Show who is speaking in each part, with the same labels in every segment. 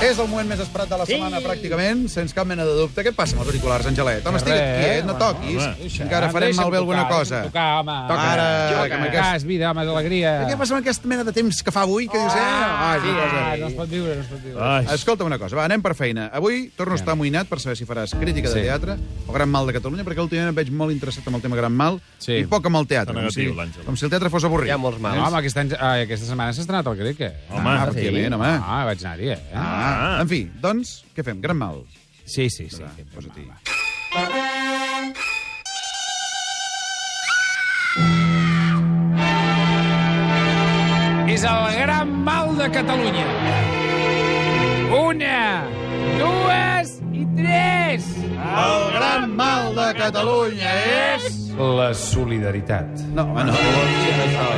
Speaker 1: és el moment més esperat de la setmana, sí. pràcticament, sense cap mena de dubte. Què et passa amb els auriculars, Angelet? Home, estigues
Speaker 2: res,
Speaker 1: aquí, eh? No
Speaker 2: home,
Speaker 1: toquis.
Speaker 2: home.
Speaker 1: Encara farem
Speaker 2: Deixa'm
Speaker 1: malbé alguna
Speaker 2: tocar,
Speaker 1: cosa.
Speaker 2: deixa'm Tocar, home.
Speaker 1: Toca
Speaker 2: Ara,
Speaker 1: ara,
Speaker 2: que
Speaker 1: que amb
Speaker 2: m'acas, vida, home, d'alegria.
Speaker 1: Què passa amb aquesta mena de temps que fa avui, que dius, eh?
Speaker 2: Ah,
Speaker 1: Ai,
Speaker 2: sí,
Speaker 1: una cosa.
Speaker 2: ah, no es pot viure, no es pot
Speaker 1: Ah,
Speaker 2: viure.
Speaker 3: Ai,
Speaker 1: Escolta una cosa, va, anem per feina. Avui torno a estar amoïnat per saber si faràs crítica de
Speaker 3: Sí.
Speaker 1: teatre o Gran Mal de Catalunya, perquè últimament em veig molt interessat amb el tema Gran Mal
Speaker 2: Sí.
Speaker 1: i poc amb el teatre.
Speaker 3: Està
Speaker 1: com si-
Speaker 3: negatiu, l'Àngel.
Speaker 1: Com si el teatre fos avorrit.
Speaker 4: Hi ha molts
Speaker 2: No,
Speaker 4: mals.
Speaker 2: home, aquest any, ah, aquesta setmana s'ha estrenat el grec, eh?
Speaker 3: Home,
Speaker 1: ah,
Speaker 3: sí.
Speaker 1: òbviament, home. Ah.
Speaker 2: Ah, vaig anar-hi, eh?
Speaker 1: En fi, doncs, què fem? Gran Mal.
Speaker 2: Sí, sí, sí.
Speaker 1: Va, posa-t'hi.
Speaker 2: És el gran mal de Catalunya. Una, dues i tres.
Speaker 1: El Gran Mal de Catalunya és...
Speaker 2: La solidaritat.
Speaker 1: No, home, no.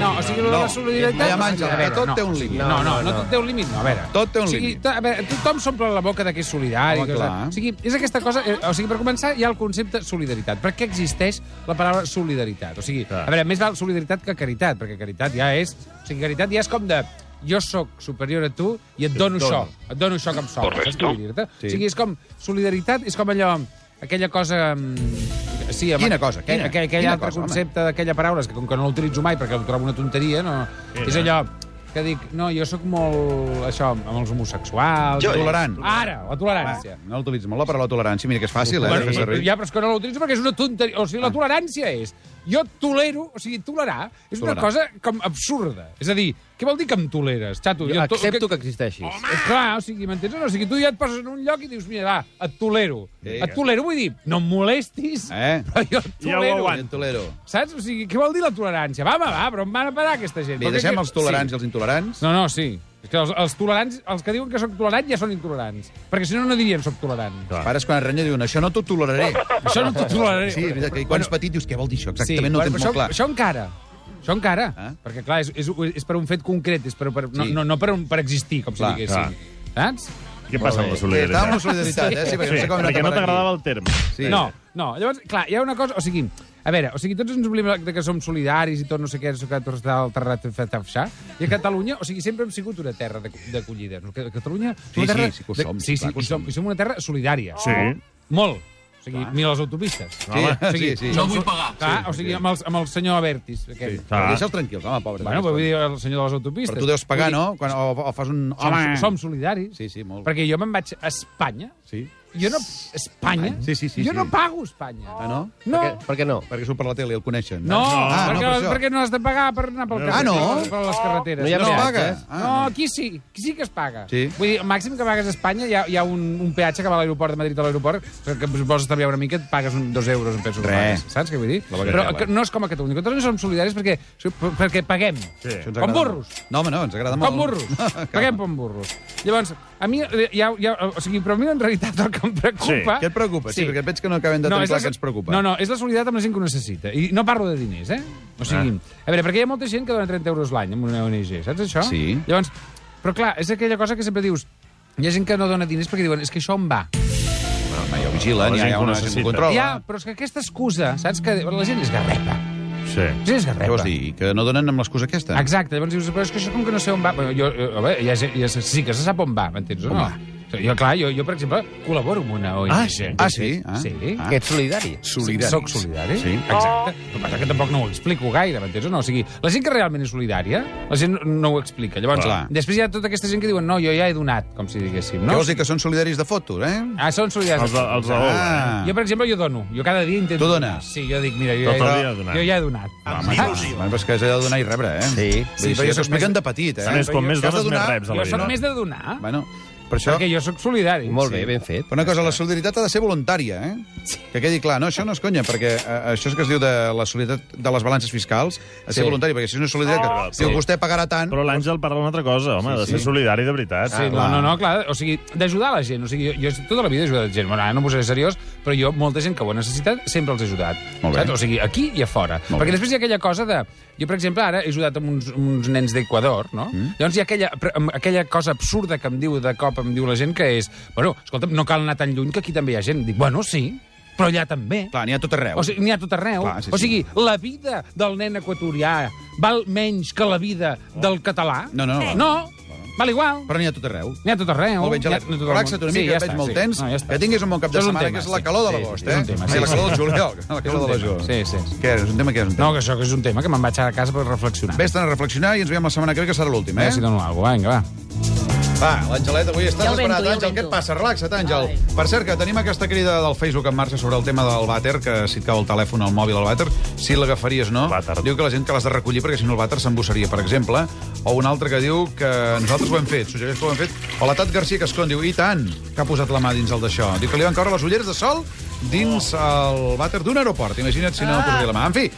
Speaker 2: No, o sigui,
Speaker 1: No.
Speaker 2: la solidaritat...
Speaker 1: Ja, Àngel,
Speaker 2: A veure,
Speaker 1: tot
Speaker 2: no.
Speaker 1: té un límit.
Speaker 2: No, no, no, no tot té un límit, no, a veure.
Speaker 1: Tot té un
Speaker 2: o sigui,
Speaker 1: límit.
Speaker 2: to- A veure, tothom s'omple la boca de que és solidari.
Speaker 1: Home,
Speaker 2: que és-
Speaker 1: clar.
Speaker 2: o sigui, és aquesta cosa... eh, O sigui, per començar, hi ha el concepte solidaritat. Per què existeix la paraula solidaritat? O sigui,
Speaker 3: Clar.
Speaker 2: a veure, més val solidaritat que caritat, perquè caritat ja és... O sigui, caritat ja és com de jo sóc superior a tu i et dono,
Speaker 3: dono.
Speaker 2: això. Et dono això que em sobra. Correcte.
Speaker 1: Sí.
Speaker 2: O sigui, és com... Solidaritat és com allò... Aquella cosa... mm, Sí, home,
Speaker 1: Quina cosa? Quina?
Speaker 2: aquell, aquell
Speaker 1: Quina
Speaker 2: altre
Speaker 1: cosa, home?
Speaker 2: concepte concepte d'aquella paraula, és que com que no l'utilitzo mai perquè ho trobo una tonteria, no...
Speaker 3: Era.
Speaker 2: És allò que dic, no, jo sóc molt, això, amb els homosexuals...
Speaker 1: Jo, tolerant.
Speaker 2: Ara, la tolerància.
Speaker 1: No l'utilitz molt, la paraula tolerància. Mira que és fàcil, eh, de fer
Speaker 2: Bueno,
Speaker 1: servir.
Speaker 2: ja, però és que no l'utilitzo perquè és una tonteria. O
Speaker 1: Ah.
Speaker 2: sigui, la tolerància és... Jo tolero, o sigui, tolerar és una
Speaker 1: Tolerar.
Speaker 2: cosa com absurda. És a dir, què vol dir que em toleres, xato?
Speaker 4: Jo
Speaker 2: to-
Speaker 4: accepto que existeixis.
Speaker 2: Home! Clar, o sigui, m'entens o no? O sigui, tu ja et poses en un lloc i dius, mira, va, et tolero.
Speaker 1: Sí.
Speaker 2: et tolero, vull dir, no em molestis,
Speaker 1: Eh?
Speaker 2: però jo et
Speaker 3: Ja ho
Speaker 2: tolero.
Speaker 3: aguanto.
Speaker 1: Tolero.
Speaker 2: Saps? O sigui, què vol dir la tolerància? Va, home, va, però on van a parar aquesta gent?
Speaker 1: Bé,
Speaker 2: Però
Speaker 1: deixem
Speaker 2: que-
Speaker 1: els tolerants i
Speaker 2: Sí.
Speaker 1: els intolerants.
Speaker 2: No, no, sí. És que els, els tolerants, els que diuen que sóc tolerant ja són intolerants. Perquè si no, no dirien sóc tolerant.
Speaker 1: Els pares, quan es renya, diuen, això no t'ho toleraré.
Speaker 2: Això no t'ho toleraré.
Speaker 1: Sí, és veritat, que quan ets petit dius, què vol dir això? Exactament, no ho tens
Speaker 2: bueno, però
Speaker 1: molt clar.
Speaker 2: Això, això encara. Això encara.
Speaker 1: Ah.
Speaker 2: Perquè, clar, és, és, és per un fet concret, és per, per, no,
Speaker 1: Sí.
Speaker 2: no, no per, un, per existir, com
Speaker 1: Clar,
Speaker 2: si diguéssim. Saps?
Speaker 3: què passa amb la
Speaker 1: Sí, estava amb la
Speaker 3: solidaritat?
Speaker 1: solidaritat, eh? Sí, perquè no sé com hem anat
Speaker 3: perquè
Speaker 1: a
Speaker 3: no
Speaker 1: parar
Speaker 3: t'agradava
Speaker 1: aquí.
Speaker 3: el terme.
Speaker 1: Sí.
Speaker 2: No, no. Llavors, clar, hi ha una cosa... O sigui, a veure, o sigui, tots ens oblidem de que som solidaris i tot no sé què, que tot està al terrat fet a fixar. I a Catalunya, o sigui, sempre hem sigut una terra de- d'acollida. No? Que- Catalunya... és una
Speaker 1: Sí, sí,
Speaker 2: terra
Speaker 1: sí que ho
Speaker 2: de-
Speaker 1: som,
Speaker 2: Sí,
Speaker 1: sí,
Speaker 2: sí,
Speaker 1: clar que ho
Speaker 2: i som,
Speaker 1: som.
Speaker 2: i som una terra solidària.
Speaker 3: Sí.
Speaker 2: Molt. O sigui, mira les autopistes.
Speaker 1: Sí,
Speaker 2: O sigui,
Speaker 1: sí, sí.
Speaker 2: som- Clar, o sigui, amb el, amb el senyor Avertis. Aquest. Sí.
Speaker 1: Però
Speaker 3: Clar.
Speaker 1: Deixa'ls tranquils, home, pobres.
Speaker 2: Bueno, però vull dir el senyor de les autopistes.
Speaker 1: Però tu deus pagar,
Speaker 2: Vull dir,
Speaker 1: no? Quan, o, o fas un...
Speaker 2: Som, som solidaris.
Speaker 1: Sí, sí, molt.
Speaker 2: Perquè jo me'n vaig a Espanya.
Speaker 1: Sí.
Speaker 2: Jo no... Espanya?
Speaker 1: Sí, sí, sí,
Speaker 2: Jo
Speaker 1: sí.
Speaker 2: no pago a Espanya.
Speaker 1: Ah, no?
Speaker 2: No.
Speaker 4: Per, què, per què no?
Speaker 1: Perquè surt per la tele i el coneixen.
Speaker 2: No,
Speaker 1: ah, no,
Speaker 2: perquè,
Speaker 1: per
Speaker 2: no
Speaker 1: això.
Speaker 2: perquè no has de pagar per anar pel
Speaker 3: Ah,
Speaker 2: carrer.
Speaker 1: no?
Speaker 2: Per les carreteres.
Speaker 4: No hi ha
Speaker 1: No
Speaker 4: peatges.
Speaker 1: paga.
Speaker 2: Ah, no, aquí sí, aquí sí que es paga.
Speaker 1: Sí.
Speaker 2: Vull dir, el màxim que pagues a Espanya, hi ha, hi ha un, un peatge que va a l'aeroport de Madrid a l'aeroport, que em poses a estalviar una mica, et pagues un, dos euros, em penso que
Speaker 1: Res.
Speaker 2: pagues. Saps què vull dir?
Speaker 1: La
Speaker 2: Però
Speaker 1: bagatela.
Speaker 2: que no és com a Catalunya. Nosaltres som solidaris perquè, perquè paguem.
Speaker 3: Sí.
Speaker 1: Això ens
Speaker 2: Com
Speaker 1: agrada
Speaker 2: burros.
Speaker 1: molt. No, home, no, ens agrada molt.
Speaker 2: Com burros. Paguem com burros. Llavors, a mi, eh, hi ha, hi ha, o sigui, però a mi en realitat el que em preocupa...
Speaker 1: Què et preocupa? Sí, perquè veig que no acabem de tenir
Speaker 2: és
Speaker 1: clar
Speaker 2: la-
Speaker 1: què ens preocupa.
Speaker 2: No, no, és la solidaritat amb la gent que ho necessita. I no parlo de diners, eh? O sigui,
Speaker 1: Ah.
Speaker 2: a veure, perquè hi ha molta gent que dona 30 euros l'any amb una ONG, saps això?
Speaker 1: Sí.
Speaker 2: Llavors, però clar, és aquella cosa que sempre dius... Hi ha gent que no dona diners perquè diuen és que això em va.
Speaker 1: Però, home, ja ho vigilen,
Speaker 3: La
Speaker 1: ja hi
Speaker 3: gent
Speaker 1: ha
Speaker 3: que ho
Speaker 1: una gent que
Speaker 3: necessita.
Speaker 1: ho controla.
Speaker 2: Ja, però és que aquesta excusa, saps? Que la gent és garrepa. La
Speaker 3: Sí.
Speaker 2: gent és
Speaker 1: Què
Speaker 2: garrepa.
Speaker 1: vols dir? Que no donen amb l'excusa aquesta?
Speaker 2: Exacte, llavors dius, però és que això com que no sé on va... Bueno, jo, eh, a veure, ja, sé- ja, sé- sí que se sap on va, m'entens o no? Jo, clar, jo, jo, per exemple, col·laboro amb una ONG.
Speaker 3: Ah, sí?
Speaker 1: Ah, sí? Ah.
Speaker 2: Sí.
Speaker 1: Ah.
Speaker 4: Que ets solidari.
Speaker 1: Solidaris.
Speaker 2: Soc solidari.
Speaker 1: Sí.
Speaker 2: Exacte. El que passa que tampoc no ho explico gaire, m'entens o no? O sigui, la gent que realment és solidària, la gent no ho explica. Llavors,
Speaker 1: Clar.
Speaker 2: després hi ha tota aquesta gent que diuen no, jo ja he donat, com si diguéssim,
Speaker 1: Què
Speaker 2: no?
Speaker 1: vols dir, que són solidaris de fotos, eh?
Speaker 2: Ah, són solidaris.
Speaker 3: Els de, els de l'ou.
Speaker 1: Ah.
Speaker 2: Oh, Jo, per exemple, jo dono. Jo cada dia intento...
Speaker 1: Tu dones?
Speaker 2: donar. Sí, jo dic, mira, jo,
Speaker 3: Tot el
Speaker 2: ja,
Speaker 3: dia
Speaker 2: he,
Speaker 3: donant.
Speaker 2: jo ja he donat.
Speaker 1: Home, home, però és que has de donar i rebre, eh?
Speaker 4: Sí.
Speaker 1: Sí,
Speaker 2: Sí,
Speaker 1: però
Speaker 2: jo
Speaker 1: ja s'ho
Speaker 2: soc
Speaker 1: expliquen
Speaker 2: més-
Speaker 1: de petit, eh?
Speaker 3: A més, com
Speaker 1: Jo-
Speaker 3: més
Speaker 1: que has de
Speaker 3: dones, més
Speaker 1: donar-
Speaker 3: reps a
Speaker 2: Jo
Speaker 3: la
Speaker 2: sóc
Speaker 3: vida.
Speaker 2: més de donar,
Speaker 1: Bueno, per això...
Speaker 2: perquè jo sóc solidari.
Speaker 4: Molt bé, ben fet.
Speaker 1: Però una cosa, la solidaritat ha de ser voluntària, eh? Que quedi clar, no, això no és conya, perquè eh, això és que es diu de la solidaritat de les balances fiscals, ha de
Speaker 4: Sí.
Speaker 1: ser voluntari, perquè si no és
Speaker 2: Ah.
Speaker 1: solidaritat, que
Speaker 3: Sí.
Speaker 1: diu, vostè pagarà tant...
Speaker 3: Però l'Àngel parla d'una altra cosa, home, de ser solidari de veritat.
Speaker 2: Sí, no,
Speaker 1: clar.
Speaker 2: no, no, clar, o sigui, d'ajudar la gent. O sigui, jo, jo tota la vida he ajudat gent. Bueno, ara no em posaré seriós, però jo, molta gent que ho ha necessitat, sempre els he ajudat.
Speaker 1: Molt bé.
Speaker 2: Saps? O sigui, aquí i a fora.
Speaker 1: Molt
Speaker 2: Perquè
Speaker 1: bé.
Speaker 2: després hi ha aquella cosa de... Jo, per exemple, ara he ajudat amb uns, uns nens d'Equador, no? Mm. Llavors hi ha aquella, pre- amb aquella cosa absurda que em diu de cop, em diu la gent, que és... Bueno, escolta'm, no cal anar tan lluny, que aquí també hi ha gent. Dic, bueno, sí, però allà també.
Speaker 1: Clar, n'hi ha a tot arreu.
Speaker 2: O sigui, n'hi ha a tot arreu.
Speaker 1: Clar, sí,
Speaker 2: o sigui, la vida del nen equatorià val menys que la vida del català?
Speaker 1: No, no, no.
Speaker 2: No, Val igual.
Speaker 1: Però n'hi ha a tot arreu.
Speaker 2: N'hi ha a tot arreu.
Speaker 1: Molt bé,
Speaker 2: N'hi ha a
Speaker 1: Gelat,
Speaker 2: tot arreu.
Speaker 1: relaxa't una
Speaker 2: Sí,
Speaker 1: mica,
Speaker 2: ja
Speaker 1: et veig
Speaker 2: està,
Speaker 1: molt
Speaker 2: sí.
Speaker 1: tens.
Speaker 2: No, ja està.
Speaker 1: Que tinguis un bon cap
Speaker 2: Això
Speaker 1: de
Speaker 2: és un
Speaker 1: setmana,
Speaker 2: tema,
Speaker 1: que és la
Speaker 2: sí.
Speaker 1: calor de
Speaker 2: Sí,
Speaker 1: l'agost,
Speaker 2: sí, és
Speaker 1: eh?
Speaker 2: un tema,
Speaker 1: Ai,
Speaker 2: sí,
Speaker 1: la
Speaker 2: sí.
Speaker 1: calor del juliol. La
Speaker 2: És
Speaker 1: calor
Speaker 2: un
Speaker 1: de la
Speaker 2: tema,
Speaker 1: juliol.
Speaker 2: sí, sí, sí.
Speaker 1: Què és? Un tema que és un
Speaker 2: No,
Speaker 1: tema.
Speaker 2: que això que és un tema que me'n vaig a casa per reflexionar.
Speaker 1: Vés-te'n a reflexionar i ens veiem la setmana que ve, que serà l'últim,
Speaker 2: A
Speaker 1: eh?
Speaker 2: veure si dono alguna cosa, vinga, va.
Speaker 1: Va, l'Angelet, avui estàs
Speaker 4: Ja el
Speaker 1: esperat,
Speaker 4: vento, ja el
Speaker 1: Àngel. Què et
Speaker 4: vento.
Speaker 1: passa? Relaxa't, Àngel.
Speaker 4: Ai.
Speaker 1: Per cert, que tenim aquesta crida del Facebook en marxa sobre el tema del vàter, que si et cau el telèfon al mòbil al vàter, si l'agafaries no.
Speaker 3: El vàter.
Speaker 1: Diu que la gent que l'has de recollir perquè si no el vàter s'embossaria, per exemple. O un altre que diu que nosaltres ho hem fet, suggereix que ho hem fet. O la Tat Garcia que escon, diu, i tant, que ha posat la mà dins el d'això. Diu que li van caure les ulleres de sol dins el vàter d'un aeroport. Imagina't si no ah. posaria la mà. En fi,